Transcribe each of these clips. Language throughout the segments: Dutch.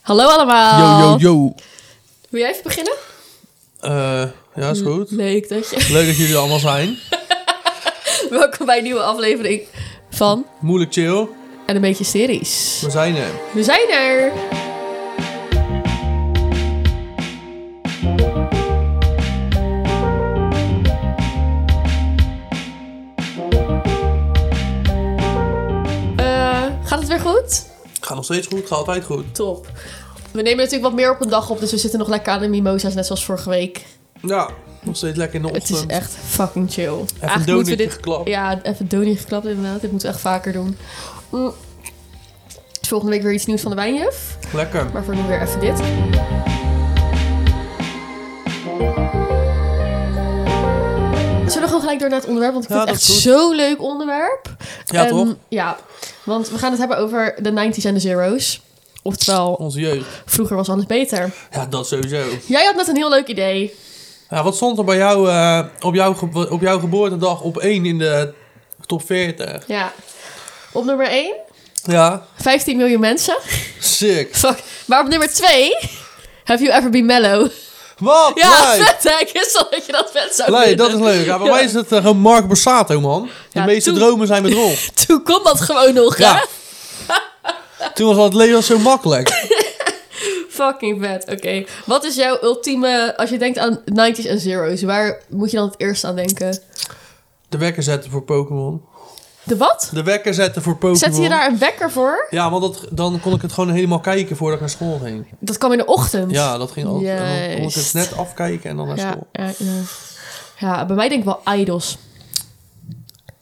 Hallo allemaal. Yo, yo, yo. Wil jij even beginnen? Eh, ja, is goed. Leuk dat je... Leuk dat jullie er allemaal zijn. Welkom bij een nieuwe aflevering van Moeilijk chill. En een beetje series. We zijn er. We zijn er. Eh, gaat het weer goed? Gaat nog steeds goed, gaat altijd goed. Top. We nemen natuurlijk wat meer op een dag op, dus we zitten nog lekker aan de mimosa's, net zoals vorige week. Ja, nog steeds lekker in de Het ochtend. is echt fucking chill. Even Eigenlijk een moeten we donutje dit, geklapt. Ja, even donutje geklapt inderdaad. Dit moeten we echt vaker doen. Mm. Dus Volgende week weer iets nieuws van de wijnjuf. Lekker. Maar voor nu weer even dit. Zullen we gewoon gelijk door naar het onderwerp? Want ik Ja, vind het dat echt is goed. zo'n leuk onderwerp. Ja, Ehm, toch? Ja, want we gaan het hebben over de 90s en de zeros. Oftewel, Onze jeugd. vroeger was alles beter. Ja, dat sowieso. Jij had net een heel leuk idee. Ja, wat stond er bij jou eh, op, jouw ge- op jouw geboortedag op 1 in de top 40? Ja. Op nummer 1, Ja, 15 miljoen mensen. sick. Fuck. Maar op nummer 2, Have You Ever Been Mellow? Wat? Ja, Leuk. vet hè? Ik wist al dat je dat vet zou Leuk, vinden. dat is leuk. Ja, bij Ja. mij is het eh, gewoon Mark Borsato, man. De Ja, meeste toen- dromen zijn bedrog. Toen kon dat gewoon nog, hè? Ja. Toen was dat leven zo makkelijk. Fucking vet, oké. Wat is jouw ultieme, als je denkt aan 90s en zeros, waar moet je dan het eerst aan denken? De wekker zetten voor Pokémon. De wat? De wekker zetten voor Pokémon. Zet je daar een wekker voor? Ja, want dat, dan kon ik het gewoon helemaal kijken voordat ik naar school ging. Dat kwam in de ochtend. Ja, dat ging altijd. En dan kon ik Juist. het net afkijken en dan naar ja, school. ja, ja. Ja, bij mij denk ik wel idols.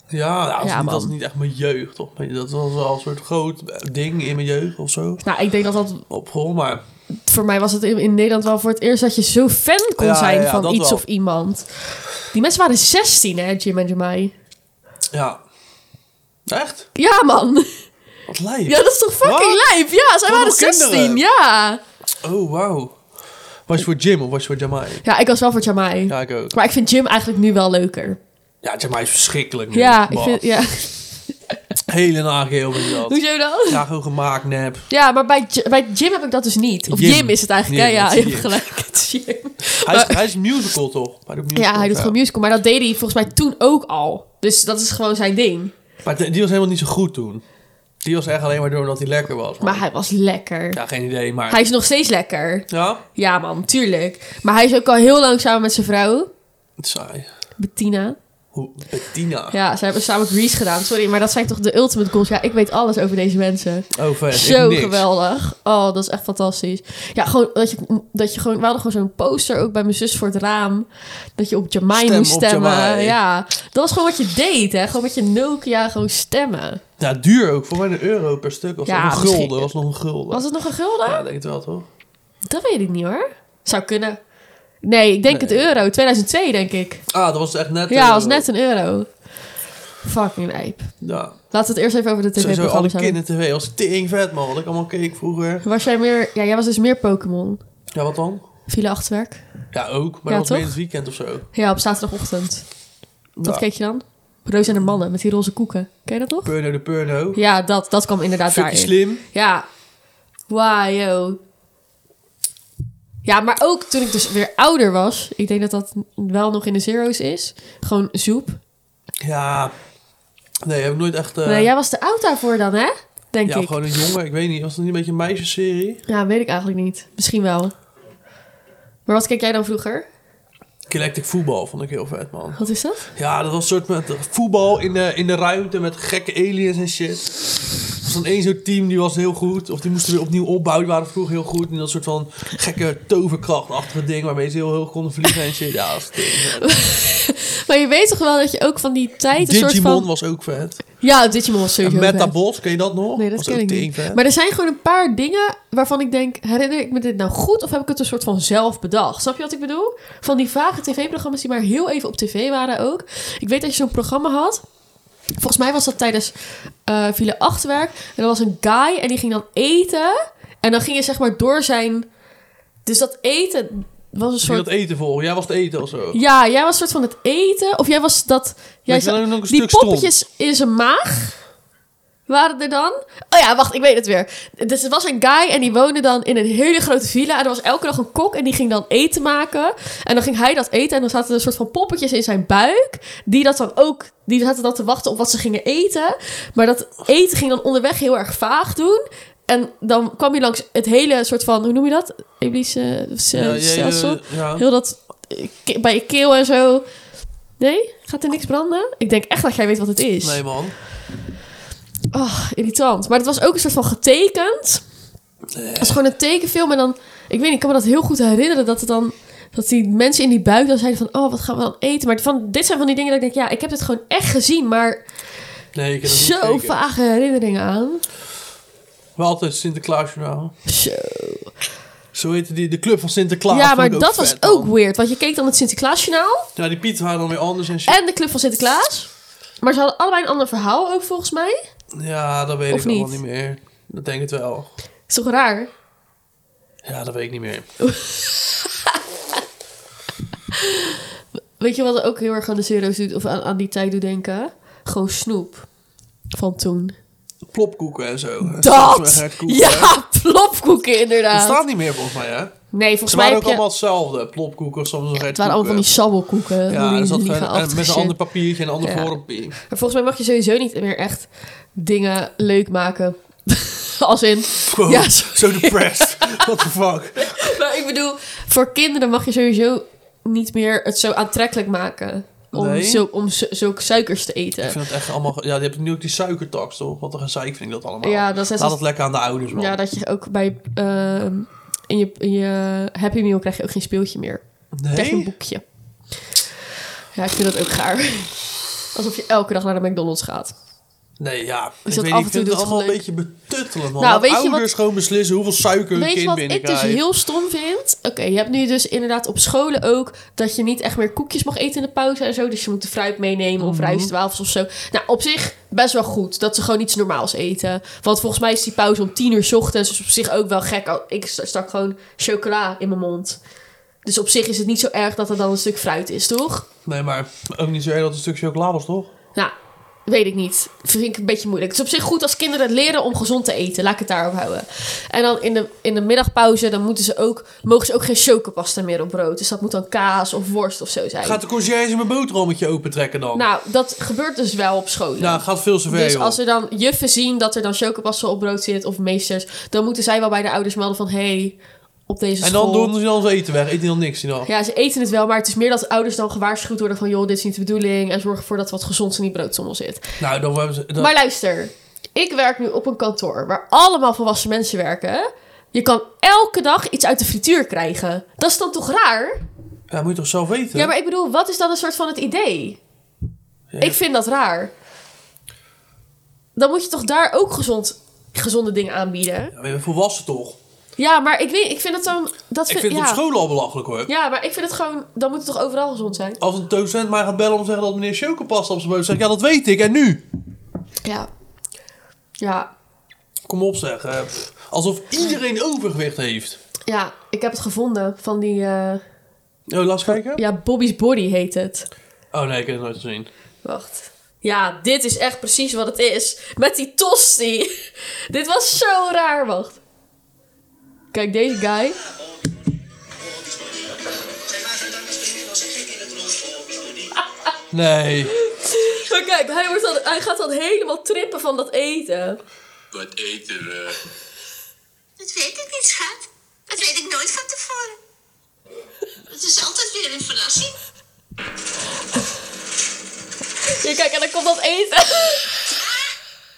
Ja, nou, dat, is Ja, niet- dat is man. niet echt mijn jeugd, toch? Maar Dat was wel een soort groot eh, ding in mijn jeugd of zo. Nou, ik denk dat dat, Op school, maar voor mij was het in, in Nederland wel voor het eerst dat je zo fan kon Ja, zijn ja, ja, van dat iets wel. of iemand. Die mensen waren 16 hè, Jim en Jamai. ja. Echt? Ja man, Wat lijf. ja dat is toch fucking Wat? lijp? Ja, zij Wat waren voor kinderen? 16, ja. Oh, wauw. Was je voor Jim of was je voor Jamai? Ja, ik was wel voor Jamai. Ja, ik ook. Maar ik vind Jim eigenlijk nu wel leuker. Ja, Jamai is verschrikkelijk. nu. Ja, ik Bah. vind, ja. Hele nageel vind je dat. Hoezo dan? Ja, gewoon gemaakt, nep. Ja, maar bij, J- bij Jim heb ik dat dus niet. Of Jim, Jim. is het eigenlijk. Jim, ja, ja, het je is hebt Jim. gelijk. Het is Jim. Hij is, hij is musical, toch? Hij doet musical, Ja, hij doet gewoon musical. Maar dat deed hij volgens mij toen ook al. Dus dat is gewoon zijn ding. Maar die was helemaal niet zo goed toen. Die was echt alleen maar doordat hij lekker was. man. Maar hij was lekker. Ja, geen idee, maar... Hij is nog steeds lekker. Ja? Ja, man, tuurlijk. Maar hij is ook al heel lang samen met zijn vrouw, Het is saai. Bettina. Hoe... eh, Bettina. Ja, ze hebben samen Grease gedaan. Sorry, maar dat zijn toch de ultimate goals. Ja, ik weet alles over deze mensen. Oh, vet. Zo ik niks. geweldig. Oh, dat is echt fantastisch. Ja, gewoon dat je, dat je gewoon... We hadden gewoon zo'n poster ook bij mijn zus voor het raam. Dat je op Jamai Stem moest op stemmen. Jamai. Ja, dat was gewoon wat je deed, hè. Gewoon met je Nokia gewoon stemmen. Ja, duur ook. Voor mij een euro per stuk. Was Ja, nog een misschien- gulden. Was nog een gulden. Was het nog een gulden? Ja, ik denk het wel, toch? Dat weet ik niet, hoor. Zou kunnen. Nee, ik denk Nee. het euro. 2002, denk ik. Ah, dat was echt net... Ja, eh, was net een euro. Fucking lijp. Ja. Laten we het eerst even over de Sowieso alle tv-programma's hebben. kindertv was tering vet, man. Wat ik allemaal keek vroeger. Was jij meer... Ja, jij was dus meer Pokémon. Ja, wat dan? File achtwerk. Ja, ook. Maar Ja, dat was meer toch? in het weekend of zo. Ja, op zaterdagochtend. Wat Ja. keek je dan? Roos en de mannen met die roze koeken. Ken je dat nog? Purno de Purno. Ja, dat, dat kwam inderdaad Fucking daarin. slim. Ja. Wow, yo. Ja, maar ook toen ik dus weer ouder was. Ik denk dat dat wel nog in de zero's is. Gewoon zoep. Ja. Nee, heb ik nooit echt... eh, Nee, jij was te oud daarvoor dan, hè? Denk ja, ik. gewoon een jongen. Ik weet niet. Was het niet een beetje een meisjesserie? Ja, weet ik eigenlijk niet. Misschien wel. Maar wat keek jij dan vroeger? Galactic voetbal vond ik heel vet, man. Wat is dat? Ja, dat was een soort met voetbal in de, in de ruimte met gekke aliens en shit. Er was dan één zo'n team die was heel goed. Of die moesten weer opnieuw opbouwen. Die waren vroeger heel goed. En dat soort van gekke toverkrachtachtige ding waarmee ze heel hoog konden vliegen en shit. Ja, dat is vet. Maar je weet toch wel dat je ook van die tijd een soort Digimon van... was ook vet. Ja, Digimon was En sowieso vet. Metabots, ken je dat nog? Nee, dat was ken ook ik niet. teringvet. Maar er zijn gewoon een paar dingen waarvan ik denk... herinner ik me dit nou goed of heb ik het een soort van zelf bedacht? Snap je wat ik bedoel? Van die vage tv-programma's die maar heel even op tv waren ook. Ik weet dat je zo'n programma had. Volgens mij was dat tijdens eh Villa Achterwerk. En er was een guy en die ging dan eten. En dan ging je zeg maar door zijn... Dus dat eten was een Ging soort... dat eten vol? Jij was het eten of zo. Ja, jij was soort van het eten. Of jij was dat... Jij Weet je wel, zat- ook nog een die stuk stond. poppetjes in zijn maag. waren er dan. Oh ja, wacht, ik weet het weer. Dus er was een guy en die woonde dan in een hele grote villa. En er was elke dag een kok en die ging dan eten maken. En dan ging hij dat eten en dan zaten er een soort van poppetjes in zijn buik. Die dat dan ook, die zaten dan te wachten op wat ze gingen eten. Maar dat eten ging dan onderweg heel erg vaag doen. En dan kwam je langs het hele soort van, hoe noem je dat? Eblische eh, Ja, ja, stelsel. ja. Heel dat eh, ke- bij je keel en zo. Nee? Gaat er niks branden? Ik denk echt dat jij weet wat het is. Nee, man. Oh, irritant. Maar het was ook een soort van getekend. Het is gewoon een tekenfilm. En dan, ik weet niet, ik kan me dat heel goed herinneren. Dat het dan, dat die mensen in die buik dan zeiden van, oh, wat gaan we dan eten? Maar van, dit zijn van die dingen dat ik denk, ja, ik heb dit gewoon echt gezien. Maar Nee, ik heb het niet zo gekeken. vage herinneringen aan. Wel altijd Sinterklaasjournaal. Zo. Zo heette die, de club van Sinterklaas. Ja, Vond maar ik ook dat was vet, ook man. weird. Want je keek dan het Sinterklaasjournaal. Ja, die Pieten waren dan weer anders en shit. en de Club van Sinterklaas. Maar ze hadden allebei een ander verhaal ook volgens mij. Ja, dat weet Eh, Of ik allemaal niet? niet meer. Dat denk ik wel. Is toch raar? Ja, dat weet ik niet meer. Weet je wat ook heel erg aan de zero's doet of aan, aan die tijd doet denken? Gewoon snoep van toen. Plopkoeken en zo. Dat! Koeken. Ja, plopkoeken Dat inderdaad. staat niet meer volgens mij, hè? Nee, volgens Ze mij waren heb ook je... allemaal hetzelfde. Plopkoeken of soms het waren allemaal van die sabbelkoeken. Ja, Ja, dat zat lieve verder- en eh, met een ander papiertje en een ander Ja. vormpje. Maar volgens mij mag je sowieso niet meer echt dingen leuk maken. Als in... Wow, Ja, sorry. so depressed. What the fuck? Maar ik bedoel, voor kinderen mag je sowieso niet meer het zo aantrekkelijk maken. Om, Nee. zo, om zo, zulke suikers te Ik eten. vind het echt allemaal... Ja, je hebt nu ook die suikertax, toch? Wat een gezeik vind ik dat allemaal. Ja, dat is Laat het lekker aan de ouders, man. Ja, dat je ook bij... ehm, in, je, in je Happy Meal krijg je ook geen speeltje meer. Krijg je een nee? boekje. Ja, ik vind dat ook gaar. Alsof je elke dag naar de McDonald's gaat. Nee, ja. dat Ik, weet, niet, af en toe ik vind het doet allemaal een geluk? beetje betuttelend, man. Nou, Laat weet je wat- ouders gewoon beslissen hoeveel suiker een Weet je kind wat ik dus binnenkrijgt. heel stom vind? Oké, je hebt nu dus inderdaad op scholen ook... dat je niet echt meer koekjes mag eten in de pauze en zo. Dus je moet de fruit meenemen of rijstwafels of zo. Nou, op zich best wel goed dat ze gewoon iets normaals eten. Want volgens mij is die pauze om tien uur 's ochtends... dus op zich ook wel gek. Ik stak gewoon chocola in mijn mond. Dus op zich is het niet zo erg dat er dan een stuk fruit is, toch? Nee, maar eh, ook niet zo erg dat het een stuk chocola was, toch? Nou, weet ik niet. Vind ik een beetje moeilijk. Het is op zich goed als kinderen het leren om gezond te eten. Laat ik het daarop houden. En dan in de, in de middagpauze, dan moeten ze ook, mogen ze ook geen chocopasta meer op brood. Dus dat moet dan kaas of worst of zo zijn. Gaat de conciërge mijn boterhammetje opentrekken dan? Nou, Nou, dat gebeurt dus wel op scholen. gaat Nou, veel zover, dus joh. als er dan juffen zien dat er dan chocopasta op brood zit of meesters, dan moeten zij wel bij de ouders melden van hé, hey, op deze En school. dan doen ze dan zijn eten weg. Eet die dan niks, die dan. Ja, ze eten het wel, maar het is meer dat ouders dan gewaarschuwd worden van joh, dit is niet de bedoeling en zorg ervoor dat wat gezonds in die broodsommel zit. Nou, dan hebben ze... dan- Maar luister, ik werk nu op een kantoor waar allemaal volwassen mensen werken. Je kan elke dag iets uit de frituur krijgen. Dat is dan toch raar? Ja, moet je toch zelf weten? Ja, maar ik bedoel, wat is dan een soort van het idee? Ik vind dat raar. Dan moet je toch daar ook gezond, gezonde dingen aanbieden? Ja, maar je bent volwassen toch? Ja, maar ik, weet, ik vind het dan... Dat Ik vind, vind ja. het op school al belachelijk, hoor. Ja, maar ik vind het gewoon... Dan moet het toch overal gezond zijn? Als een docent mij gaat bellen om te zeggen dat meneer Chocopasta op zijn boot zegt... Ja, dat weet ik. En nu? Ja. Ja, Kom op, zeg. eh, pff. alsof iedereen overgewicht heeft. ja. Ik heb het gevonden van die... eh, Oh, laat eens kijken. ja, Bobby's Body heet het. Oh nee, ik heb het nooit gezien. Wacht. Ja, dit is echt precies wat het is. Met die tosti. dit was zo raar, wacht. Kijk, deze guy. Nee. Maar kijk, hij, wordt dan, hij gaat dan helemaal trippen van dat eten. Wat eten we? Dat weet ik niet, schat. Dat weet ik nooit van tevoren. Het is altijd weer een verrassing. Ja, kijk, en dan komt dat eten. Ah,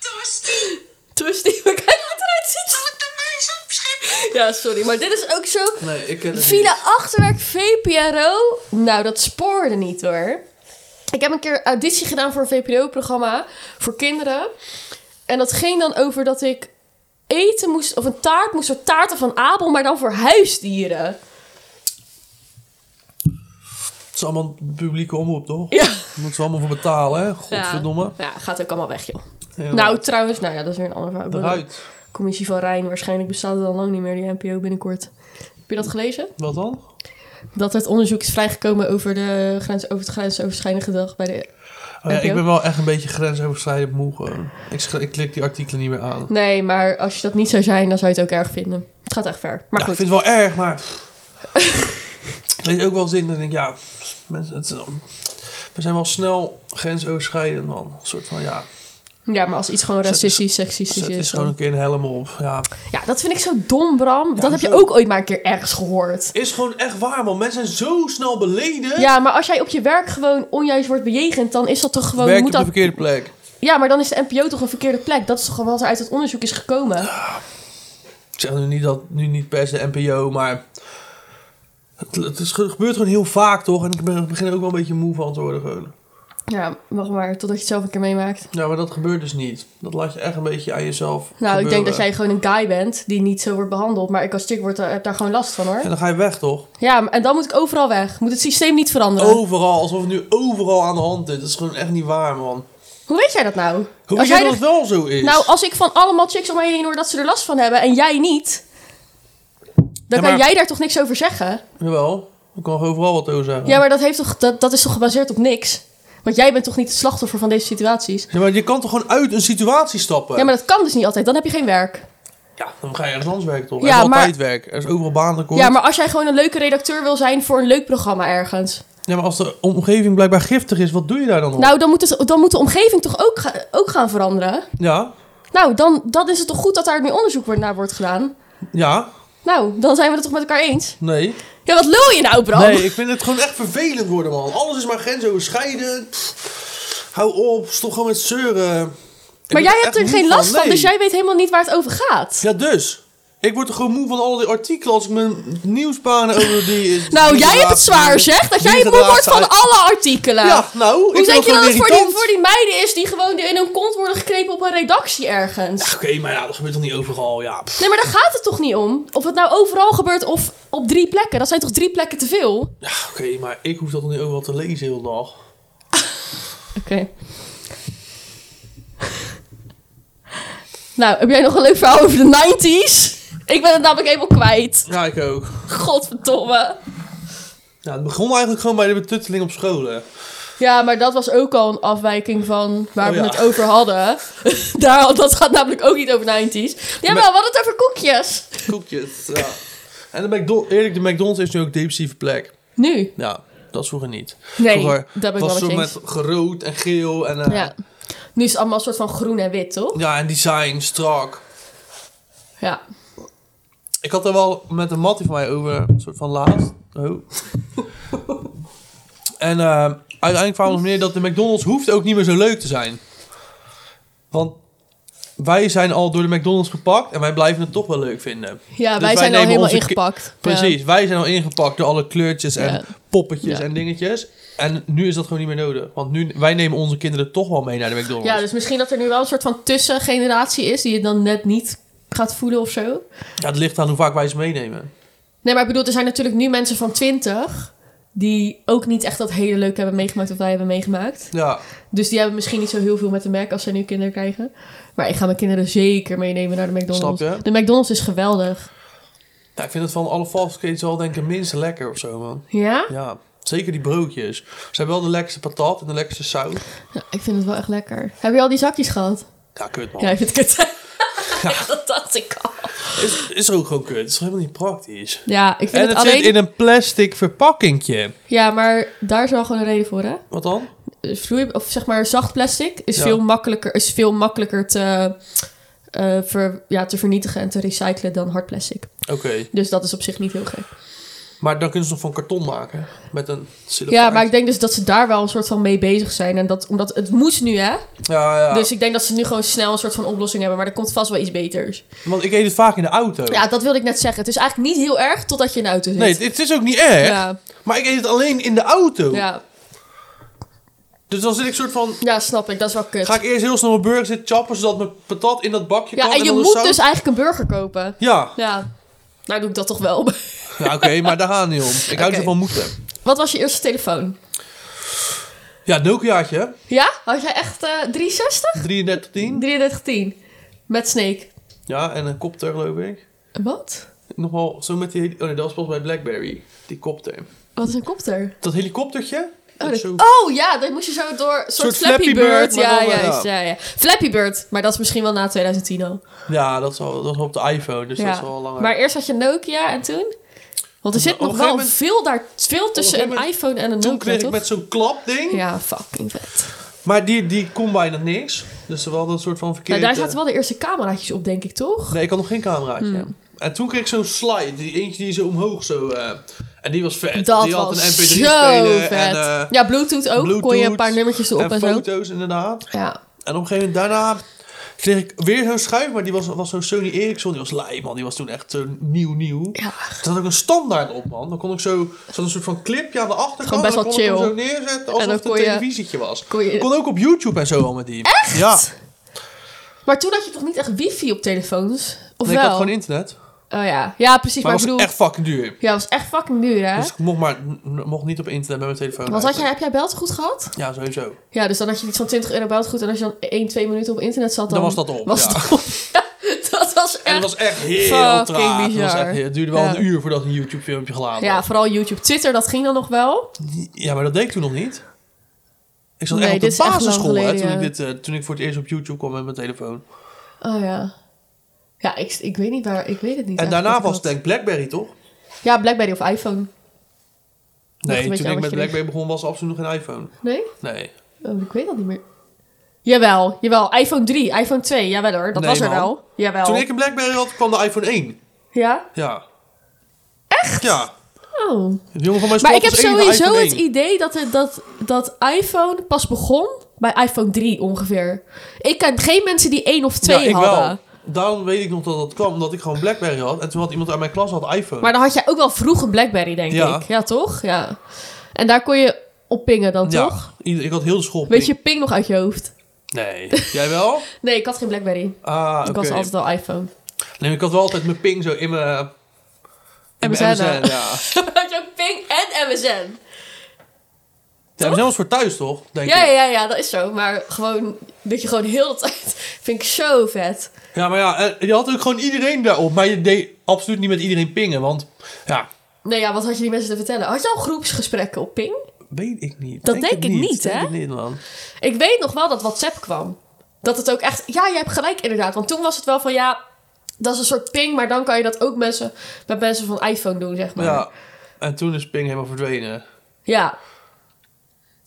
Tosti, Tosti, maar kijk wat eruit ziet. zal ik dan maar eens opscheppen? Ja, sorry, maar dit is ook zo... Nee, ik ken het niet. Villa Achterwerk VPRO. Nou, dat spoorde niet hoor. Ik heb een keer auditie gedaan voor een VPRO-programma voor kinderen. En dat ging dan over dat ik eten moest, of een taart moest, voor taarten van Abel, maar dan voor huisdieren. Het is allemaal publieke omroep, toch? Ja. Daar moeten ze allemaal voor betalen, hè? Godverdomme. Ja, gaat ook allemaal weg, joh. Ja. Nou, trouwens, nou ja, dat is weer een ander verhaal. Ik bedoel, Eruit. Commissie van Rijn, waarschijnlijk bestaat het al lang niet meer, die NPO binnenkort. Heb je dat gelezen? Wat dan? Dat het onderzoek is vrijgekomen over, de grens, over het grensoverschrijdend gedrag bij de Maar ja, Heb je ik ben ook? wel echt een beetje grensoverschrijdend moe gewoon. Ik, sch- ik klik die artikelen niet meer aan. Nee, maar als je dat niet zou zijn, dan zou je het ook erg vinden. Het gaat echt ver. Maar Ja, ik goed. vind het wel erg, maar... ik weet ook wel zin dat ik denk, ja... Mensen, het, is wel- we zijn wel snel grensoverschrijdend, man. Een soort van, ja... Ja, maar als iets gewoon racistisch, seksistisch Zet is. is gewoon een dan- keer een helm op. Ja. Ja, dat vind ik zo dom, Bram. dat heb je hoezo? ook ooit maar een keer ergens gehoord. Is gewoon echt waar, man. Mensen zijn zo snel beleden. Ja, maar als jij op je werk gewoon onjuist wordt bejegend, dan is dat toch gewoon. je Werkt moet op de dat... verkeerde plek. Ja, maar dan is de NPO toch een verkeerde plek. Dat is toch gewoon wat er uit het onderzoek is gekomen. Ik zeg nu niet dat, nu niet per se de NPO, maar... Het, het is, het gebeurt gewoon heel vaak, toch? En ik ben- begin er ook wel een beetje moe van te worden, gewoon. Ja, wacht maar, totdat je het zelf een keer meemaakt. Ja, maar dat gebeurt dus niet. Dat laat je echt een beetje aan jezelf Nou, ik denk gebeuren. dat jij gewoon een guy bent die niet zo wordt behandeld. Maar ik als chick word, eh, heb daar gewoon last van hoor. En dan ga je weg, toch? Ja, maar- en dan moet ik overal weg. Moet het systeem niet veranderen. Overal, alsof het nu overal aan de hand is. Dat is gewoon echt niet waar, man. Hoe weet jij dat nou? Hoe als weet je jij dat het er- wel zo is? Nou, als ik van allemaal chicks om mij heen hoor dat ze er last van hebben en jij niet, dan Ja, maar- kan jij daar toch niks over zeggen? Jawel, ik kan overal wat over zeggen. Ja, maar dat, heeft toch, dat, dat is toch gebaseerd op niks? Want jij bent toch niet het slachtoffer van deze situaties? Ja, maar je kan toch gewoon uit een situatie stappen? Ja, maar dat kan dus niet altijd. Dan heb je geen werk. Ja, dan ga je ergens anders werken, toch? Ja, er is maar- altijd werk. Er is overal baan Ja, maar als jij gewoon een leuke redacteur wil zijn voor een leuk programma ergens. ja, maar als de omgeving blijkbaar giftig is, wat doe je daar dan op? Nou, dan moet, het, dan moet de omgeving toch ook, ga- ook gaan veranderen? Ja, Nou, dan, dan is het toch goed dat daar meer onderzoek wordt- naar wordt gedaan? ja, Nou, dan zijn we het toch met elkaar eens? nee. Ja, wat lul je nou, Bram? Nee, ik vind het gewoon echt vervelend worden, man. Alles is maar grensoverschrijdend. Pff, Hou op, stop gewoon met zeuren. Ik maar ben jij echt hebt er moe geen last van, nee. dus jij weet helemaal niet waar het over gaat. Ja, dus. Ik word er gewoon moe van al die artikelen als ik mijn nieuwsbanen over die... Nou, die jij hebt het draad- zwaar, zeg. Dat jij die moe wordt van draad- alle artikelen. Ja, nou, ik Hoe vind denk het je dat gewoon het voor die, irritant. voor die meiden is die gewoon in hun kont worden geknepen op een redactie ergens? Oké, maar ja, dat gebeurt toch niet overal, ja. pff. Nee, maar daar gaat het toch niet om? Of het nou overal gebeurt of op drie plekken. Dat zijn toch drie plekken te veel? Oké. Ja, oké, maar ik hoef dat toch niet overal te lezen heel de dag. nou, heb jij nog een leuk verhaal over de 90s? Ik ben het namelijk helemaal kwijt. Ja, ik ook. Godverdomme. Ja, het begon eigenlijk gewoon bij de betutteling op school, hè. Ja, maar dat was ook al een afwijking van waar Oh we ja. het over hadden. Daar, dat gaat namelijk ook niet over 90s. Jawel, we hadden het over koekjes. Koekjes, ja. En de McDonald's, eerlijk, de McDonald's is nu ook een depressieve plek. Nu. Ja, dat is vroeger niet. Nee, vroeger dat ben ik was wel met je zo met eens. gerood en geel en... eh, Ja. Nu is het allemaal een soort van groen en wit, toch? ja, en design, strak. Ja. Ik had er wel met een mattie van mij over, een soort van laatst. Oh. en eh, uiteindelijk kwamen we nog neer dat de McDonald's hoeft ook niet meer zo leuk te zijn. Want wij zijn al door de McDonald's gepakt en wij blijven het toch wel leuk vinden. Ja, Dus wij zijn al nemen helemaal onze ki- ingepakt. eh. Precies, wij zijn al ingepakt door alle kleurtjes en Ja. poppetjes Ja. en dingetjes. En nu is dat gewoon niet meer nodig. Want nu, wij nemen onze kinderen toch wel mee naar de McDonald's. Ja. ja, dus misschien dat er nu wel een soort van tussengeneratie is die je dan net niet gaat voelen of zo. Ja, het ligt aan hoe vaak wij ze meenemen. Nee, maar ik bedoel, er zijn natuurlijk nu mensen van 20 die ook niet echt dat hele leuk hebben meegemaakt wat wij hebben meegemaakt. Ja, Dus die hebben misschien niet zo heel veel met de Mac als zij nu kinderen krijgen. Maar ik ga mijn kinderen zeker meenemen naar de McDonald's. Snap je? De McDonald's is geweldig. ja ik vind het van alle valsketens wel denk ik minst lekker of zo, man. Ja? Ja, zeker die broodjes. Ze hebben wel de lekkerste patat en de lekkerste saus. Ja, ik vind het wel echt lekker. Heb je al die zakjes gehad? Ja, kut man. Ja, ik vind het kut. dat dacht ik al. Is, is ook gewoon kut. Het is helemaal niet praktisch. Ja, ik vind En het het alleen... zit in een plastic verpakkingje. Ja, maar daar is wel gewoon een reden voor, hè? Wat dan? Eh, Vloei... Of zeg maar zacht plastic is, Ja. veel, makkelijker, is veel makkelijker te, eh, ver, ja, te vernietigen en te recyclen dan hard plastic. Oké. Dus dat is op zich niet heel gek. Maar dan kunnen ze nog van karton maken. Met een Ja, siliconen. maar ik denk dus dat ze daar wel een soort van mee bezig zijn. En dat, omdat het moest nu, hè? Ja, ja. Dus ik denk dat ze nu gewoon snel een soort van oplossing hebben. Maar er komt vast wel iets beters. Want ik eet het vaak in de auto. Ja, dat wilde ik net zeggen. Het is eigenlijk niet heel erg totdat je in de auto zit. Nee, het, het is ook niet erg. Ja. Maar ik eet het alleen in de auto. ja. Dus dan zit ik soort van... ja, snap ik. Dat is wel kut. Ga ik eerst heel snel mijn burger zitten chappen... zodat mijn patat in dat bakje ja, kan. en je dan de moet saus- dus eigenlijk een burger kopen. Ja, Ja. Nou doe ik dat toch wel. ja oké, maar daar gaat het niet om. Ik hou Oké. ervan moeten. Wat was je eerste telefoon? Ja, het Nokiaatje, hè? Ja? Had jij echt eh 360? 3310. 3310. Met Snake. Ja, en een kopter geloof ik. Wat? Nogal zo met die... heli- Oh nee, dat was pas bij Blackberry. Die kopter. Wat is een kopter? Dat helikoptertje? Oh, Oh, Ook dat- zo. oh ja, dan moest je zo door. Een soort Flappy Bird. maar ja, dan, eh, juist, ja. ja. Ja, Flappy Bird, maar dat is misschien wel na 2010 al. Ja, dat is, al, dat is al op de iPhone, dus dat ja. is al langer. Maar eerst had je Nokia en toen? Want er Op- zit op een nog wel gegeven moment- veel, daar, veel tussen gegeven een moment- iPhone en een toen Nokia, kreeg toch? ik met zo'n klapding, Ja, fucking vet. Nou, maar die, die kon bijna niks. Dus wel dat soort van Nou, verkeerde... daar zaten wel de eerste cameraatjes op, denk ik, toch? Nee, ik had nog geen cameraatje. Hmm. En toen kreeg ik zo'n slide, die eentje die zo omhoog zo... eh, en die was vet. Dat die had was een mp3 zo speler vet. en, eh, ja, Bluetooth ook. kon je een Bluetooth paar nummertjes erop en, en zo. foto's, inderdaad. Ja. En op een gegeven moment daarna kreeg ik weer zo'n schuif, maar die was, was zo'n Sony Ericsson. Die was lijp, man. Die was toen echt zo nieuw, nieuw. Ja. Er zat ook een standaard op, man. Dan kon ik zo, er zat een soort van clipje aan de achterkant. Gewoon best en wel dan kon ik hem chill. zo neerzetten dan alsof het kon een je- televisietje was. kon je- Ik kon ook op YouTube en zo al met die. Echt? Ja. Maar toen had je toch niet echt wifi op telefoons? Of Nee, ik wel? had gewoon internet. Maar, Oh ja, ja precies. Maar, het ik was bedoel... echt fucking duur. Ja, was echt fucking duur, hè? Dus ik mocht, maar, n- mocht niet op internet met mijn telefoon. Want had jij, eigenlijk. heb jij beltegoed gehad? Ja, sowieso. Ja, dus dan had je iets van 20 euro beltegoed. En als je dan 1, 2 minuten op internet zat, dan... Dan was dat op, Was ja. het op. Ja, dat was En echt... het was echt heel fucking traag. Het, was bizar. echt, het duurde wel Ja. een uur voordat een YouTube filmpje geladen Ja, was. vooral YouTube. Twitter, dat ging dan nog wel. Ja, maar dat deed ik toen nog niet. Ik zat Nee, echt op dit de is echt lang basisschool hè, geleden, toen, ja. ik dit, eh, toen ik voor het eerst op YouTube kwam met mijn telefoon. Oh ja. Ja, ik, ik weet niet waar... Ik weet het niet. en eigenlijk daarna wat was ik had. het denk ik Blackberry, toch? Ja, Blackberry of iPhone. Nee, een beetje aan toen ik wat met je Blackberry begon was er absoluut nog geen iPhone. Nee? Nee. Oh, ik weet dat niet meer. Jawel, jawel. iPhone 3, iPhone 2. Jawel hoor, dat Nee, was er man. wel. Jawel. Toen ik een Blackberry had, kwam de iPhone 1. Ja? Ja. Echt? Ja. Oh. De jongen van Maar mijn school ik heb was de enige sowieso iPhone het 1. idee dat, het, dat, dat iPhone pas begon bij iPhone 3 ongeveer. Ik ken geen mensen die één of twee ja, ik hadden. wel. Daarom weet ik nog dat dat kwam, omdat ik gewoon Blackberry had. En toen had iemand uit mijn klas had iPhone. Maar dan had jij ook wel vroeg een Blackberry, denk Ja. ik. Ja, toch? Ja. En daar kon je op pingen dan, ja, toch? ieder- ik had heel de school. Weet je ping nog uit je hoofd? Nee. Jij wel? Nee, ik had geen Blackberry. Ah, oké. Ik was altijd al iPhone. Nee, maar ik had wel altijd mijn ping zo in mijn... in mijn MSN, hè? ja. had je ook ping en MSN? Ja, maar zelfs voor thuis toch? Denk Ja, ik. ja, ja, dat is zo. Maar gewoon, dat je gewoon heel de tijd... Vind ik zo vet. Ja, maar ja, eh, je had ook gewoon iedereen daarop. Maar je deed absoluut niet met iedereen pingen. Want ja, Nee, ja, wat had je die mensen te vertellen? Had je al groepsgesprekken op ping? weet ik niet. Dat denk het ik niet, Denk hè? het niet, man. Ik weet nog wel dat WhatsApp kwam. Dat het ook echt... Ja, je hebt gelijk inderdaad. Want toen was het wel van ja... Dat is een soort ping, maar dan kan je dat ook mensen, met mensen van iPhone doen, zeg maar. Ja. En toen is ping helemaal verdwenen. Ja.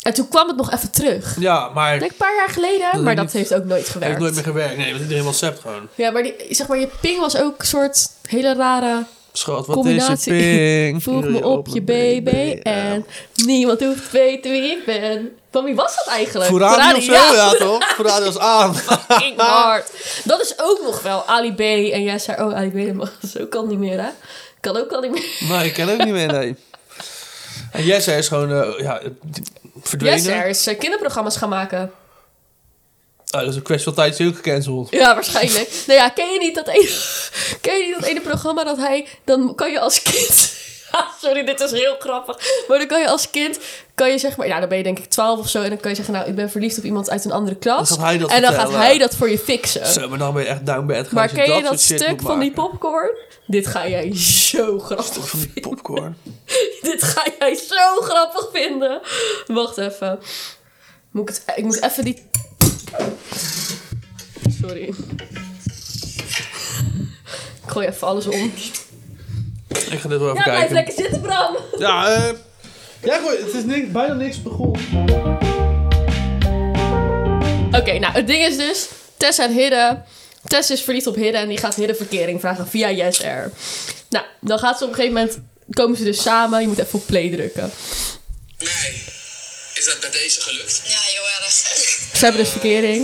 En toen kwam het nog even terug. Ja, maar Ik het denk een paar jaar geleden, Dat maar heeft dat niet- heeft ook nooit heeft gewerkt. nooit meer gewerkt. Nee, want iedereen WhatsApp gewoon. Ja, maar, die, zeg maar je ping was ook een soort hele rare Schat, wat combinatie. is je ping? Voeg me op je BB en niemand hoeft te weten wie ik ben. Van wie was dat eigenlijk? Voorraad Ferrari, of zo, ja. ja, toch? Voorraad was aan. Fucking hard. Dat is ook nog wel Ali B en Yasser. Oh, Ali B, dat mag zo kan niet meer, hè? Kan ook al niet meer. nee, ik ken ook niet meer, nee. En Jesse is gewoon, eh, ja, verdwenen. Yasser is eh, kinderprogramma's gaan maken. Ah, dat is een kwestie van tijd, is hij ook gecanceld. Ja, waarschijnlijk. nou ja, ken je niet dat ene, ken je niet dat ene programma dat hij... Dan kan je als kind... Ja, Sorry, dit is heel grappig. Maar dan kan je als kind, kan je zeg maar, ja, dan ben je denk ik 12 of zo. En dan kan je zeggen, nou, ik ben verliefd op iemand uit een andere klas. Dan gaat hij dat en dan gaat vertellen. hij dat voor je fixen. Zo, maar dan ben je echt down bad. maar ken je dat stuk van die popcorn? Dit ga jij zo grappig Van die vinden. popcorn. Dit ga jij zo grappig vinden. Wacht even. Moet ik, het, ik moet even die. Sorry. Ik gooi even alles om. Ik ga dit wel even Ja, blijf kijken. lekker zitten, Bram. Ja, eh. ja, gooi, het is niks, bijna niks begonnen. Oké, nou, het ding is dus... Tess en Hidde... Tess is verliefd op Hidde en die gaat Hidde verkering vragen via Yes Air. Nou, dan gaat ze op een gegeven moment... Komen ze dus samen. Je moet even op play drukken. Nee. Is dat bij deze gelukt? Ja, heel erg. Ze hebben dus verkering.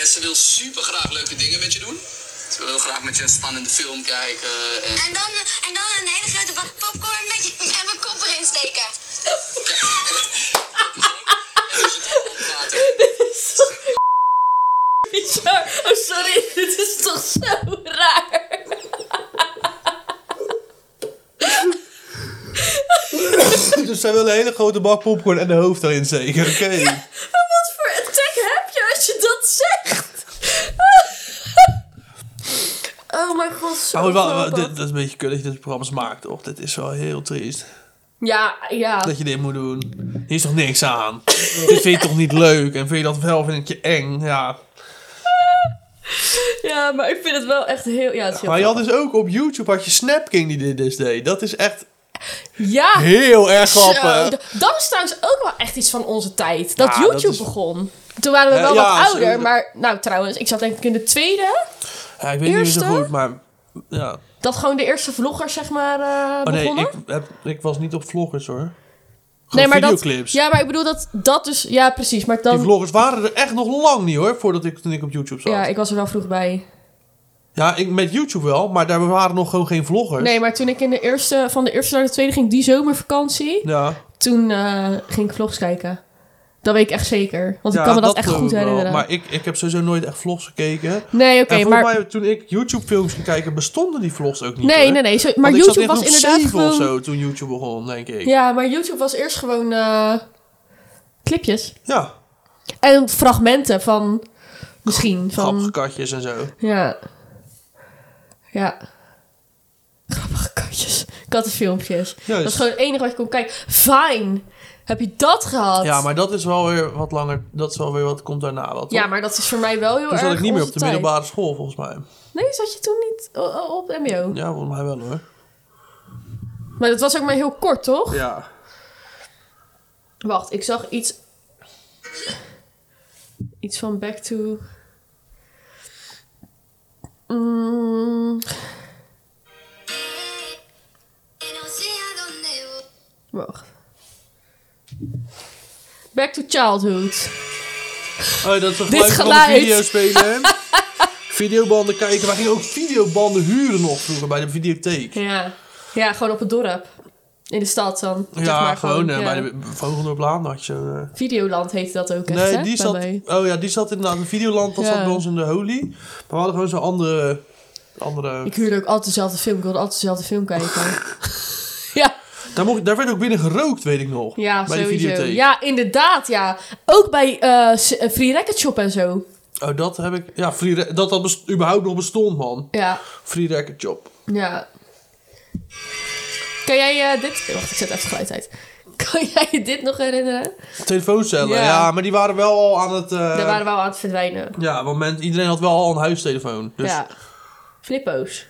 En ze wil super graag leuke dingen met je doen. Ze wil heel graag met je een spannende film kijken. En... En dan, en dan een hele grote bak popcorn met je, en mijn kop erin steken. Bizar. Oh, sorry. Dit is toch zo raar. Dus zij wil een hele grote bak popcorn en de hoofd erin zeker. Oké. Maar wat voor attack heb je als je dat zegt? Oh mijn god, zo Maar goed, wel- wel, grappig. Oh, dit, dat is een beetje kut dat je dit programma's maakt, toch? Dit is wel heel triest. Ja, ja. dat je dit moet doen. Hier is toch niks aan? dit vind je toch niet leuk? En vind je dat wel, vind ik je eng. Ja. Ja, maar ik vind het wel echt heel... Ja, het is heel Maar je had dus ook op YouTube had je Snap King die dit dus deed. Dat is echt Ja, heel erg Zo, grappig. d- dat is trouwens ook wel echt iets van onze tijd. Dat Ja, YouTube dat is- begon. Toen waren we Eh, wel ja, wat zo- ouder, maar... Nou, trouwens, ik zat denk ik in de tweede. Ja, ik weet niet meer Eerste? zo goed, maar... Ja. Dat gewoon de eerste vloggers, zeg maar, eh, Oh nee, begonnen. ik, heb, ik was niet op vloggers hoor. nee, Gewoon maar videoclips. Dat, ja, maar ik bedoel dat dat dus... Ja, precies, maar Die dan... vloggers waren er echt nog lang niet hoor, voordat ik, toen ik op YouTube zat. Ja, Ja, ik was er wel vroeg bij. ik, met YouTube wel, maar daar waren nog gewoon geen vloggers. Nee, maar toen ik in de eerste, van de eerste naar de tweede ging, die zomervakantie... Ja, Toen eh, ging ik vlogs kijken. Dat weet ik echt zeker. Want ik Ja, kan me dat, echt geloof goed ik wel. herinneren. Maar ik, ik heb sowieso nooit echt vlogs gekeken. Nee, oké, en volgens maar... mij toen ik YouTube films ging kijken, bestonden die vlogs ook niet Nee, hoor. nee, nee. zo- maar Want ik YouTube zat echt was op inderdaad zeven gewoon... of zo toen YouTube begon, denk ik. Ja. Ja, maar YouTube was eerst gewoon eh, clipjes. ja En fragmenten van misschien. grappige Van, katjes en zo. ja. Ja. Grappige katjes. Kattenfilmpjes. Dat is Juist. gewoon het enige wat je kon kijken. Fine. Heb je dat gehad? Ja, maar dat is wel weer wat langer. Dat is wel weer wat komt daarna. Wat, Ja, maar dat is voor mij wel heel toen erg zat ik niet meer onze op de tijd. middelbare school, volgens mij. Nee, zat je toen niet o- o- op mbo? Ja, volgens mij wel hoor. Maar dat was ook maar heel kort, toch? Ja. Wacht, ik zag iets... Iets van back to... Mm, Y no sé a dónde voy. Wacht. Back to childhood. Oh, dat is een Dit geluid van geluid. de video spelen. Videobanden kijken. Wij gingen ook videobanden huren nog vroeger bij de videotheek. Ja, Ja. Ja, gewoon op het dorp. In de stad dan. zeg maar, gewoon eh, ja. bij de Vogeldorplaan had je zo'n... eh, Videoland heette dat ook echt, Nee, hè? die zat, Daarbij. oh ja, die zat inderdaad in Videoland. Dat Ja. zat bij ons in de Holy. Maar we hadden gewoon zo'n andere... andere... Ik huurde ook altijd dezelfde film. Ik wilde altijd dezelfde film kijken. ja. Daar, mocht, daar werd ook binnen gerookt, weet ik nog. Ja, bij de sowieso. videotheek. Ja, inderdaad, ja. Ook bij eh, s- eh, Free Record Shop en zo. Oh, dat heb ik... Ja, free Ra- dat dat best- überhaupt nog bestond, man. Ja. Free record job. Ja. Kan jij eh, dit... Wacht, ik zet even het geluid uit. Kan jij je dit nog herinneren? Telefooncellen, Ja. ja. maar die waren wel al aan het... eh, Daar waren we al aan het verdwijnen. Ja, moment, iedereen had wel al een huistelefoon. Dus Ja. Flippo's.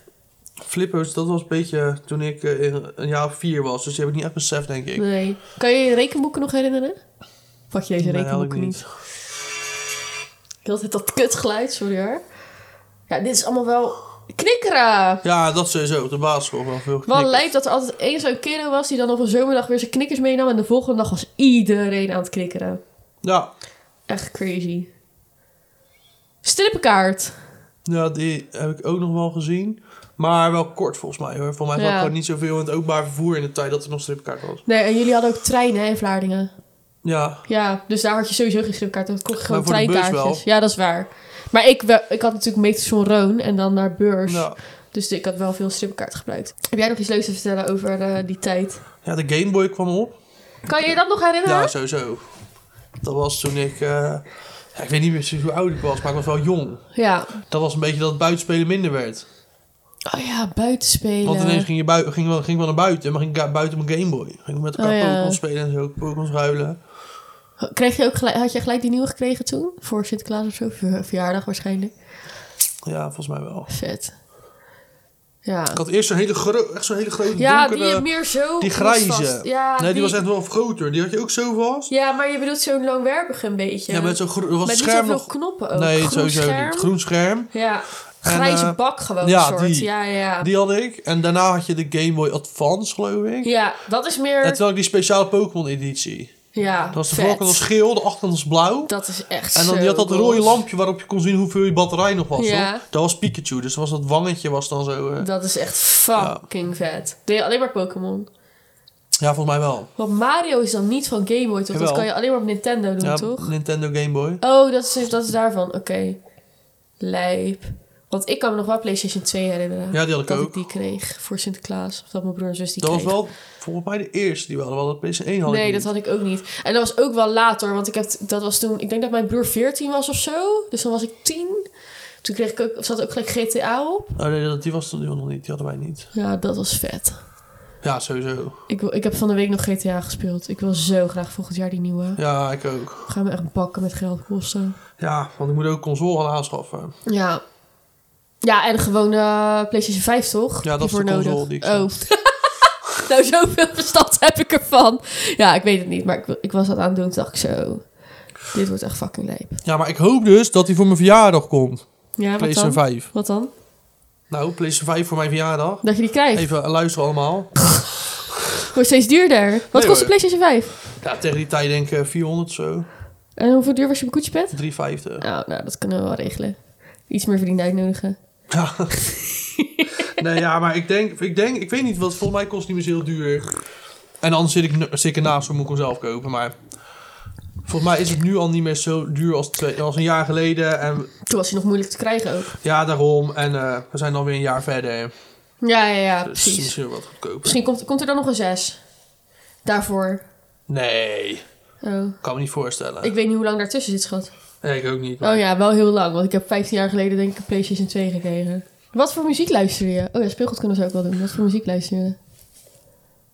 flippers, dat was een beetje toen ik eh, in- een jaar of vier was. Dus die heb ik niet echt beseft, denk ik. Nee. Kan je je rekenboeken nog herinneren? Pak je deze Nee, eigenlijk rekenboeken niet. Heel de tijd dat kutgeluid, sorry hoor. Ja, dit is allemaal wel knikkeren. Ja, dat sowieso. Op de basisschool wel veel Wel geknikkerd. lijkt dat er altijd één zo'n kerel was die dan op een zomerdag weer zijn knikkers meenam. En de volgende dag was iedereen aan het knikkeren. Ja, Echt crazy. Strippenkaart. Ja, die heb ik ook nog wel gezien. Maar wel kort volgens mij hoor. Voor mij was Ja. het gewoon niet zoveel in het openbaar vervoer in de tijd dat er nog stripkaart was. Nee, en jullie hadden ook treinen hè, in Vlaardingen. Ja, Ja, dus daar had je sowieso geen stripkaart. Dan kocht je gewoon voor de bus treinkaartjes. wel. Ja, dat is waar. Maar ik, wel- ik had natuurlijk metro Roon en dan naar beurs. ja. Dus ik had wel veel stripkaart gebruikt. Heb jij nog iets leuks te vertellen over eh, die tijd? ja de Game Boy kwam op. Kan je je dat nog herinneren? Ja, sowieso. Dat was toen ik... eh, ja, ik weet niet meer precies hoe oud ik was, maar ik was wel jong. Ja. Dat was een beetje dat het buitenspelen minder werd. Oh ja, buitenspelen. Want ineens ging, je bui- ging, wel, ging wel naar buiten, maar ging ik buiten mijn Game Boy. Ging ik met elkaar Oh, ja. Pokémon spelen en zo, Pokémon ruilen. Kreeg je ook gelijk, had je gelijk die nieuwe gekregen toen? Voor Sinterklaas of zo? Ver- Verjaardag waarschijnlijk. Ja, volgens mij wel. Vet. Ja. Ik had eerst zo'n hele, gro- echt zo'n hele grote Ja, die donkere... heb meer zo. Die grijze. vast. Ja, nee, die, was echt wel groter. Die had je ook zo vast. Ja, maar je bedoelt zo'n langwerpig een beetje. Ja, met zo'n groen was Met het niet scherm zoveel nog... knoppen ook. Nee, Groen sowieso scherm. niet. Groen scherm. Ja. Grijze eh, bak gewoon ja, soort. die. Ja, ja. Die had ik. En daarna had je de Game Boy Advance, geloof ik. Ja, dat is meer... En toen had ik die speciale Pokémon editie. ja, Dat was de vet. voorkant als geel, de achterkant als blauw. Dat is echt en dan zo die had dat goed. rode lampje waarop je kon zien hoeveel je batterij nog was. Ja. toch? Dat was Pikachu, dus was dat wangetje was dan zo... eh, Dat is echt fucking vet. Deed je alleen maar Pokémon. Ja, volgens mij wel. Want Mario is dan niet van Game Boy, toch? Dat Jawel. kan je alleen maar op Nintendo doen, ja, toch? Nintendo Game Boy. Oh, dat is, dat is daarvan. Oké. Lijp. Want ik kan me nog wel PlayStation 2 herinneren. Ja, die had ik dat ook. ik die kreeg voor Sinterklaas. Of dat mijn broer en zus die Dat was kreeg. wel volgens mij de eerste die we hadden. We hadden PS1 hadden Nee, dat had ik ook niet. En dat was ook wel later, want ik heb, dat was toen, ik denk dat mijn broer 14 was of zo. Dus dan was ik 10. Toen kreeg ik ook, zat ook gelijk GTA op. Oh nee, dat- die was toen die nog niet. Die hadden wij niet. Ja, dat was vet. Ja, sowieso. Ik, wil- ik heb van de week nog GTA gespeeld. Ik wil zo graag volgend jaar die nieuwe. Ja, ik ook. Gaan we echt bakken met geld kosten. Ja, want ik moet ook console gaan aanschaffen. Ja. Ja, en gewoon eh PlayStation 5, toch? Ja, dat is voor de console die ik Oh. nou, zoveel verstand heb ik ervan. Ja, ik weet het niet, maar ik, ik was dat aan het doen. Toen dacht ik zo, dit wordt echt fucking lijp. Ja, maar ik hoop dus dat hij voor mijn verjaardag komt. Ja, wat PlayStation dan? 5. Wat dan? Nou, PlayStation 5 voor mijn verjaardag. Dat je die krijgt. Even eh, luisteren allemaal. Wordt steeds duurder. Wat Nee, kost de hoor. PlayStation 5? Ja, tegen die tijd denk ik eh, 400 zo. En hoeveel duur was je koetsjepet? 350. Nou, nou, dat kunnen we wel regelen. Iets meer verdiend uitnodigen. Ja. nee, ja, maar ik denk, ik denk, ik weet niet, wat volgens mij kost die me heel duur. En anders zit ik, nu- zit ik ernaast, dan moet ik hem zelf kopen. Maar volgens mij is het nu al niet meer zo duur als, twee, als een jaar geleden. En Toen was je nog moeilijk te krijgen ook. ja, daarom. En eh, we zijn alweer een jaar verder. Ja, ja, ja, Dus het is precies. misschien wat goedkoper. Misschien komt, komt er dan nog een 6. Daarvoor. Nee, Oh. kan me niet voorstellen. Ik weet niet hoe lang daartussen zit, schat. Nee, ik ook niet. maar- Oh ja, wel heel lang. Want ik heb 15 jaar geleden denk ik een PlayStation 2 gekregen. Wat voor muziek luister je? Oh ja, speelgoed kunnen ze ook wel doen. Wat voor muziek luister je?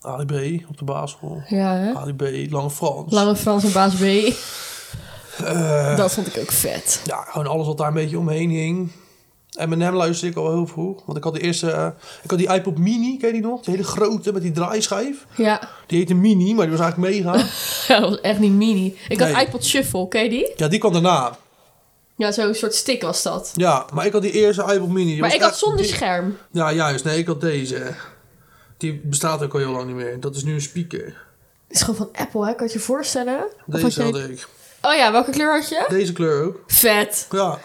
Ali B op de basisschool. Ja, hè? Ali B, Lange Frans. Lange Frans en Baas B. Eh, Dat vond ik ook vet. ja, gewoon alles wat daar een beetje omheen hing. Eminem luisterde ik al heel vroeg. Want ik had de eerste... eh, ik had die iPod Mini, ken je die nog? Die hele grote met die draaischijf. Ja, Die heette Mini, maar die was eigenlijk mega. dat was echt niet mini. Ik had Nee. iPod Shuffle, ken je die? ja, die kwam daarna. Ja, zo'n soort stick was dat. Ja, maar ik had die eerste iPod Mini. die Maar was ik had echt zonder dik. scherm. Ja, juist. Nee, ik had deze. Die bestaat ook al heel lang niet meer. Dat is nu een speaker. Het is gewoon van Apple, hè? Kan je je voorstellen? Of had Deze jij- had ik. Oh ja, welke kleur had je? Deze kleur ook. Vet. Ja.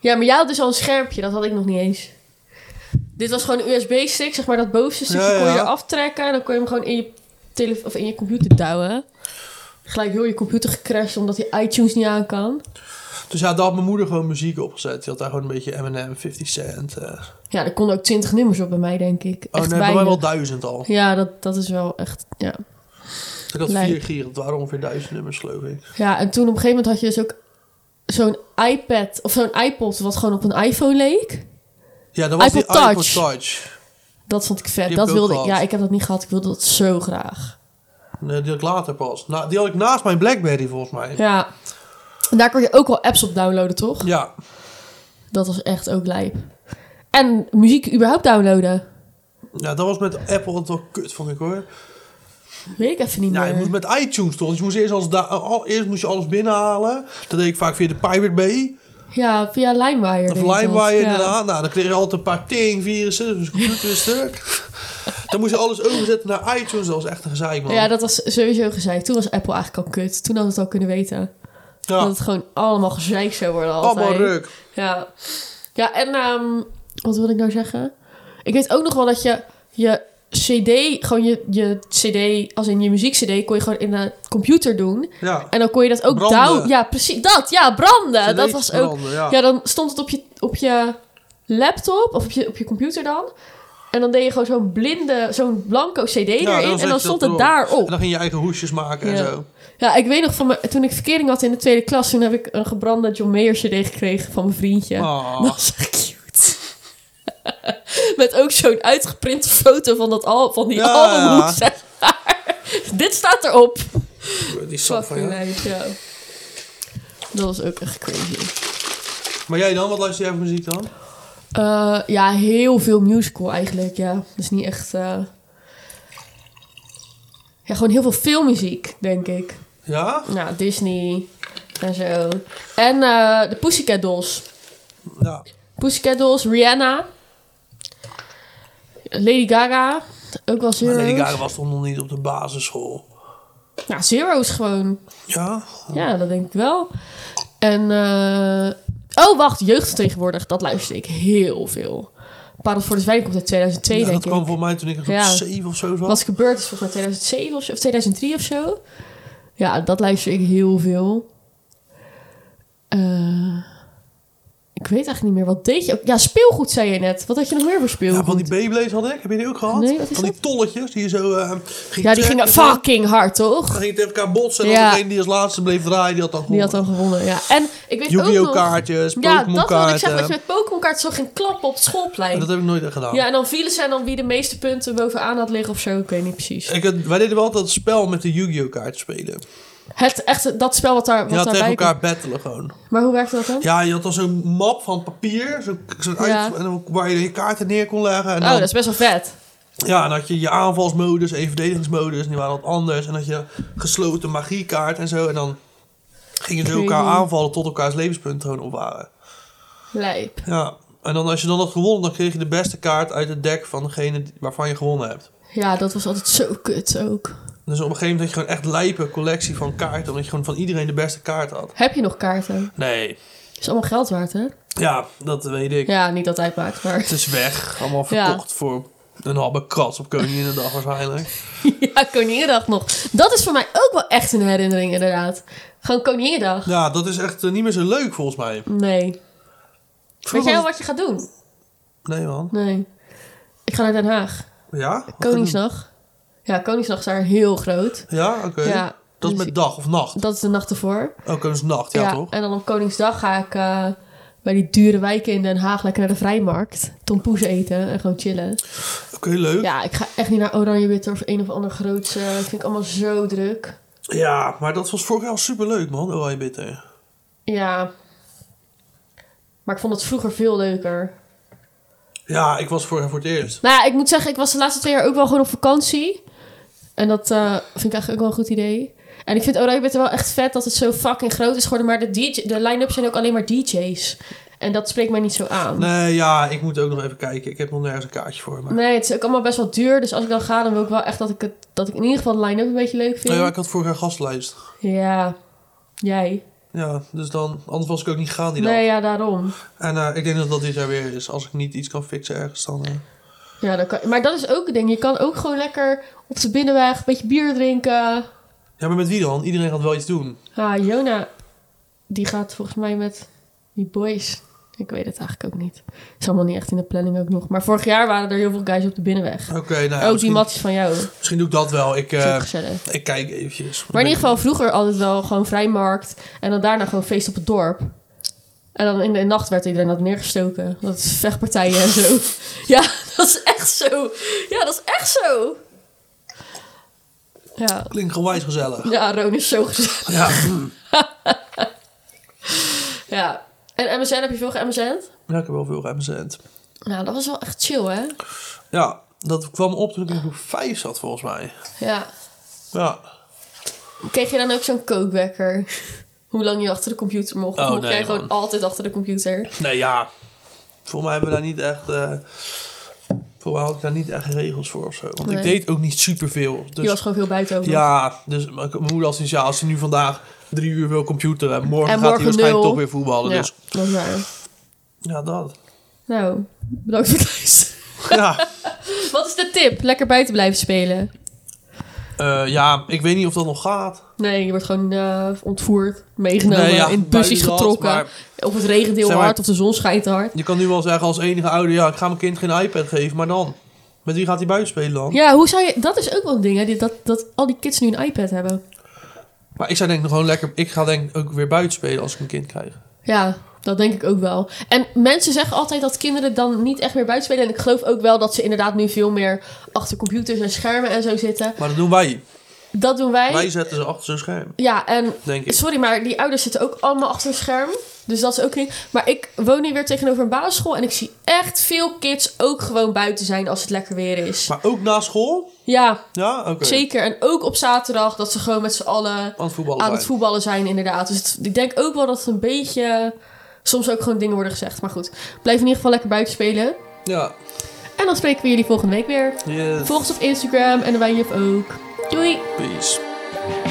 Ja, maar jij had dus al een schermpje. Dat had ik nog niet eens. Dit was gewoon een USB-stick, zeg maar. Dat bovenste stukje Ja, kon je ja. eraf trekken. En dan kon je hem gewoon in je, tele- of in je computer duwen. Gelijk heel je computer gecrashed omdat die iTunes niet aan kan. Dus ja, daar had mijn moeder gewoon muziek opgezet. Die had daar gewoon een beetje Eminem, 50 Cent. eh. Ja, er konden ook twintig nummers op bij mij, denk ik. Oh Echt nee, bij mij wel weinig. duizend al. Ja, dat, dat is wel echt, ja. Ik had Leuk. vier gier, het waren ongeveer duizend nummers geloof ik. Ja, en toen op een gegeven moment had je dus ook zo'n iPad... of zo'n iPod wat gewoon op een iPhone leek. Ja, dat was iPod die Touch. iPod Touch. Dat vond ik vet. Die heb dat ik ook wilde ik. gehad. Ja, ik heb dat niet gehad. Ik wilde dat zo graag. Nee, die had ik later pas. Na, die had ik naast mijn Blackberry volgens mij. Ja. Ja. En daar kon je ook wel apps op downloaden, toch? Dat was echt ook lijp. En muziek überhaupt downloaden. Ja, dat was met Apple het wel kut, vond ik hoor. Weet ik even niet Ja, je meer. moest met iTunes toch? Dus je moest eerst, alles da- al, eerst moest je alles binnenhalen. Dat deed ik vaak via de Pirate Bay. Ja, via LimeWire. Of deed ik dat. LimeWire Ja. inderdaad. Nou, dan kreeg je altijd een paar teringvirussen. Dus computer is stuk. Dan moest je alles overzetten naar iTunes. Dat was echt een gezeik, man. Ja, dat was sowieso gezeik. Toen was Apple eigenlijk al kut. Toen hadden we het al kunnen weten. Dat het gewoon allemaal gezeik zou worden altijd. allemaal ruk. Ja. Ja, en ehm, wat wil ik nou zeggen? Ik weet ook nog wel dat je je cd, gewoon je, je cd, als in je muziek cd, kon je gewoon in de computer doen. Ja. En dan kon je dat ook Branden. down... Ja, precies. Dat, ja, branden. CD dat was ook... branden, ja. dan stond het op je, op je laptop of op je, op je computer dan. En dan deed je gewoon zo'n blinde, zo'n blanco cd Ja, erin. zet En je dan dat stond het erop. daarop. En dan ging je eigen hoesjes maken en Ja. zo. Ja, ik weet nog van mijn, toen ik verkering had in de tweede klas, toen heb ik een gebrande John Mayer CD gekregen van mijn vriendje. Ah. Dat was echt cute. Met ook zo'n uitgeprinte foto van, dat al, van die Ja. albumhoes, zeg maar. Dit staat erop. Die sap van Fucking jou. lijf, ja. Dat was ook echt crazy. Maar jij dan, wat luister jij voor muziek dan? Eh, ja, heel veel musical eigenlijk, ja. Dus niet echt... eh, Ja, gewoon heel veel filmmuziek, denk ik. Ja? Nou, Disney en zo. En eh, de Pussycat Dolls. Ja. Pussycat Dolls, Rihanna. Lady Gaga. Ook wel Maar Zero's. Lady Gaga was toch nog niet op de basisschool? Nou, Zero's gewoon. Ja? Ja, dat denk ik wel. En, eh, oh wacht, jeugd tegenwoordig. Dat luister ik heel veel. Parel voor de Zwijn komt uit 2002, ja dat denk ik. kwam voor mij toen ik een groep Ja. 7 of zo was. Wat gebeurd is volgens mij 2007 of, zo- of 2003 of zo. Ja, dat luister ik heel veel. Eh, ik Ik weet eigenlijk niet meer. Wat deed je ook? Ja, speelgoed zei je net. Wat had je nog meer voor Ja, speelgoed? van die Beyblades had ik. Heb je die ook gehad? Nee, wat is van die dat? tolletjes die je zo... eh, ging Ja, die gingen trekken. fucking hard, toch? Dan ging het tegen elkaar botsen. En Ja. dan degene die als laatste bleef draaien, die had dan Die gewonnen. had dan gewonnen, ja. En ik weet ook Yu-Gi-Oh nog... kaartjes, Ja, Pokémon dat wilde ik zeggen. kaarten. Dat je met Pokémon kaart zo ging klappen op het schoolplein. Dat heb ik nooit gedaan. Ja, en dan vielen ze en dan wie de meeste punten bovenaan had liggen of zo. Ik weet niet precies. Ik had, wij deden wel altijd het spel met de Yu-Gi-Oh kaart spelen. Het, echt, dat spel wat, daar, wat Je had tegen daarbij elkaar battelen gewoon. komt. Maar hoe werkte dat dan? Oh, Ja, je had dan zo'n map van papier. Zo'n zo'n uit, Ja. en dan- waar je je kaarten neer kon leggen. En oh, dan, dat is best wel vet. Ja, en dan had je je aanvalsmodus en je verdedigingsmodus. En die waren wat anders. En dan had je gesloten magiekaart en zo. En dan gingen ze elkaar Crazy. aanvallen tot elkaars levenspunten gewoon op waren. Lijp. Ja. En dan als je dan had gewonnen, dan kreeg je de beste kaart uit het deck van degene die- waarvan je gewonnen hebt. Ja, dat was altijd zo kut ook. Dus op een gegeven moment had je gewoon echt lijpe collectie van kaarten. Omdat je gewoon van iedereen de beste kaart had. Heb je nog kaarten? Nee. Is allemaal geld waard, hè? Ja, dat weet ik. Ja, niet dat uitmaakt, maar... Het is weg. Allemaal Ja. verkocht voor een halve kras op Koninginnedag waarschijnlijk. ja, Koninginnedag nog. Dat is voor mij ook wel echt een herinnering, inderdaad. Gewoon Koninginnedag. Ja, dat is echt eh, niet meer zo leuk volgens mij. Nee. Weet Vroeger jij al was- wat je gaat doen? Nee man. Nee. Ik ga naar Den Haag. Ja? Wat Koningsnacht. Ja, Koningsnacht is daar heel groot. dan? Ja, oké. Ja. Dat is met dag of nacht. Dat is de nacht ervoor. Ook eens nacht, ja, toch? En dan op Koningsdag ga ik eh, bij die dure wijken in Den Haag lekker naar de vrijmarkt. Tompoes eten en gewoon chillen. Oké, leuk. Ja. Ja, ik ga echt niet naar Oranje Witter of een of ander groots. eh, Dat vind ik allemaal zo druk. maar dat was vorig jaar super leuk man, Oh, Oranje Bitter. Ja. Maar ik vond het vroeger veel leuker. Ja, ik was vorig jaar voor het eerst. Nou ja, ik moet zeggen, ik was de laatste twee jaar ook wel gewoon op vakantie. En dat eh, vind ik eigenlijk ook wel een goed idee. En ik vind Oranje Bitter wel echt vet dat het zo fucking groot is geworden. Maar de, DJ, de line-ups zijn ook alleen maar DJ's. En dat spreekt mij niet zo aan. Nee, ja, ik moet ook nog even kijken. Ik heb nog nergens een kaartje voor. Maar... Nee, het is ook allemaal best wel duur. Dus als ik dan ga, dan wil ik wel echt dat ik, het, dat ik in ieder geval de line-up een beetje leuk vind. Nee, maar Oh ik had vorig jaar gastlijst. Ja, jij. Ja, dus dan, anders was ik ook niet gaan die dag. Nee, ja, daarom. En eh, ik denk dat dat dit jaar weer is. Als ik niet iets kan fixen ergens, dan... eh, Ja, dat kan, maar dat is ook een ding. Je kan ook gewoon lekker op de binnenweg een beetje bier drinken. Ja, maar met wie dan? Iedereen gaat wel iets doen. Ah, Jona, die gaat volgens mij met die boys. Ik weet het eigenlijk ook niet. Is allemaal niet echt in de planning ook nog. Maar vorig jaar waren er heel veel guys op de binnenweg. Oké, nou ja, ook Oh, die misschien, matjes van jou. misschien doe ik dat wel. Ik, is eh, ook gezellig. ik kijk eventjes. Maar in ieder geval vroeger altijd wel gewoon vrijmarkt. En dan daarna gewoon feest op het dorp. En dan in de nacht werd iedereen dat neergestoken. Dat is vechtpartijen en zo. Ja, dat is echt zo. Ja, dat is echt zo. Ja, Klinkt gewijs gezellig. ja Roon is zo gezellig. Ja. Mm. Ja. En MSN, heb je veel ge-MSN? ja, ik heb wel veel recent. Nou, dat was wel echt chill, hè? Ja, dat kwam op toen ik in groep 5 zat, volgens mij. Ja. Ja. Kreeg je dan ook zo'n kookwekker? Hoe lang je achter de computer mocht? Of Oh, mocht nee, jij gewoon man. Dus altijd achter de computer? Nee, ja. Volgens mij hebben we daar niet echt... eh voor mij had ik daar niet echt regels voor of zo. Want ik Nee. deed ook niet superveel. Dus, Je was gewoon veel buiten over. Ja, dus mijn mijn moeder had zoiets, ja, als hij nu vandaag drie uur wil computeren... Morgen, En gaat hij morgen waarschijnlijk nul. toch weer voetballen. Ja, Dus dat is waar. ja, dat. Nou, bedankt voor het luisteren. Ja. Wat is de tip? Lekker buiten blijven spelen. Eh, ja, ik weet niet of dat nog gaat. Nee, je wordt gewoon eh, ontvoerd, meegenomen, Nee, ja, in busjes buiten dat, getrokken. Of het regent heel Zeg maar- hard, of de zon schijnt te hard. Je kan nu wel zeggen als enige ouder, ja, ik ga mijn kind geen iPad geven, maar dan? Met wie gaat hij buiten spelen dan? Ja, hoe zou je... Dat is ook wel een ding, hè? die- Dat, dat al die kids nu een iPad hebben. Maar ik zou denk ik nog gewoon lekker, ik ga denk ik ook weer buiten spelen als ik een kind krijg. Ja, dat denk ik ook wel. En mensen zeggen altijd dat kinderen dan niet echt meer buiten spelen. En ik geloof ook wel dat ze inderdaad nu veel meer achter computers en schermen en zo zitten. Maar dat doen wij. Dat doen wij. Wij zetten ze achter zo'n scherm, Ja, en denk ik. Sorry, maar die ouders zitten ook allemaal achter een scherm. Dus dat is ook niet. Maar ik woon nu weer tegenover een basisschool. En ik zie echt veel kids ook gewoon buiten zijn als het lekker weer is. Maar ook na school? Ja, Ja, oké. zeker. En ook op zaterdag dat ze gewoon met z'n allen Aan het voetballen aan het zijn. voetballen zijn, inderdaad. Dus het- ik denk ook wel dat het een beetje. Soms ook gewoon dingen worden gezegd. Maar goed, blijf in ieder geval lekker buiten spelen. Ja. En dan spreken we jullie volgende week weer. Yes. Volg ons op Instagram en de Wijnjuf ook. Doei! Peace.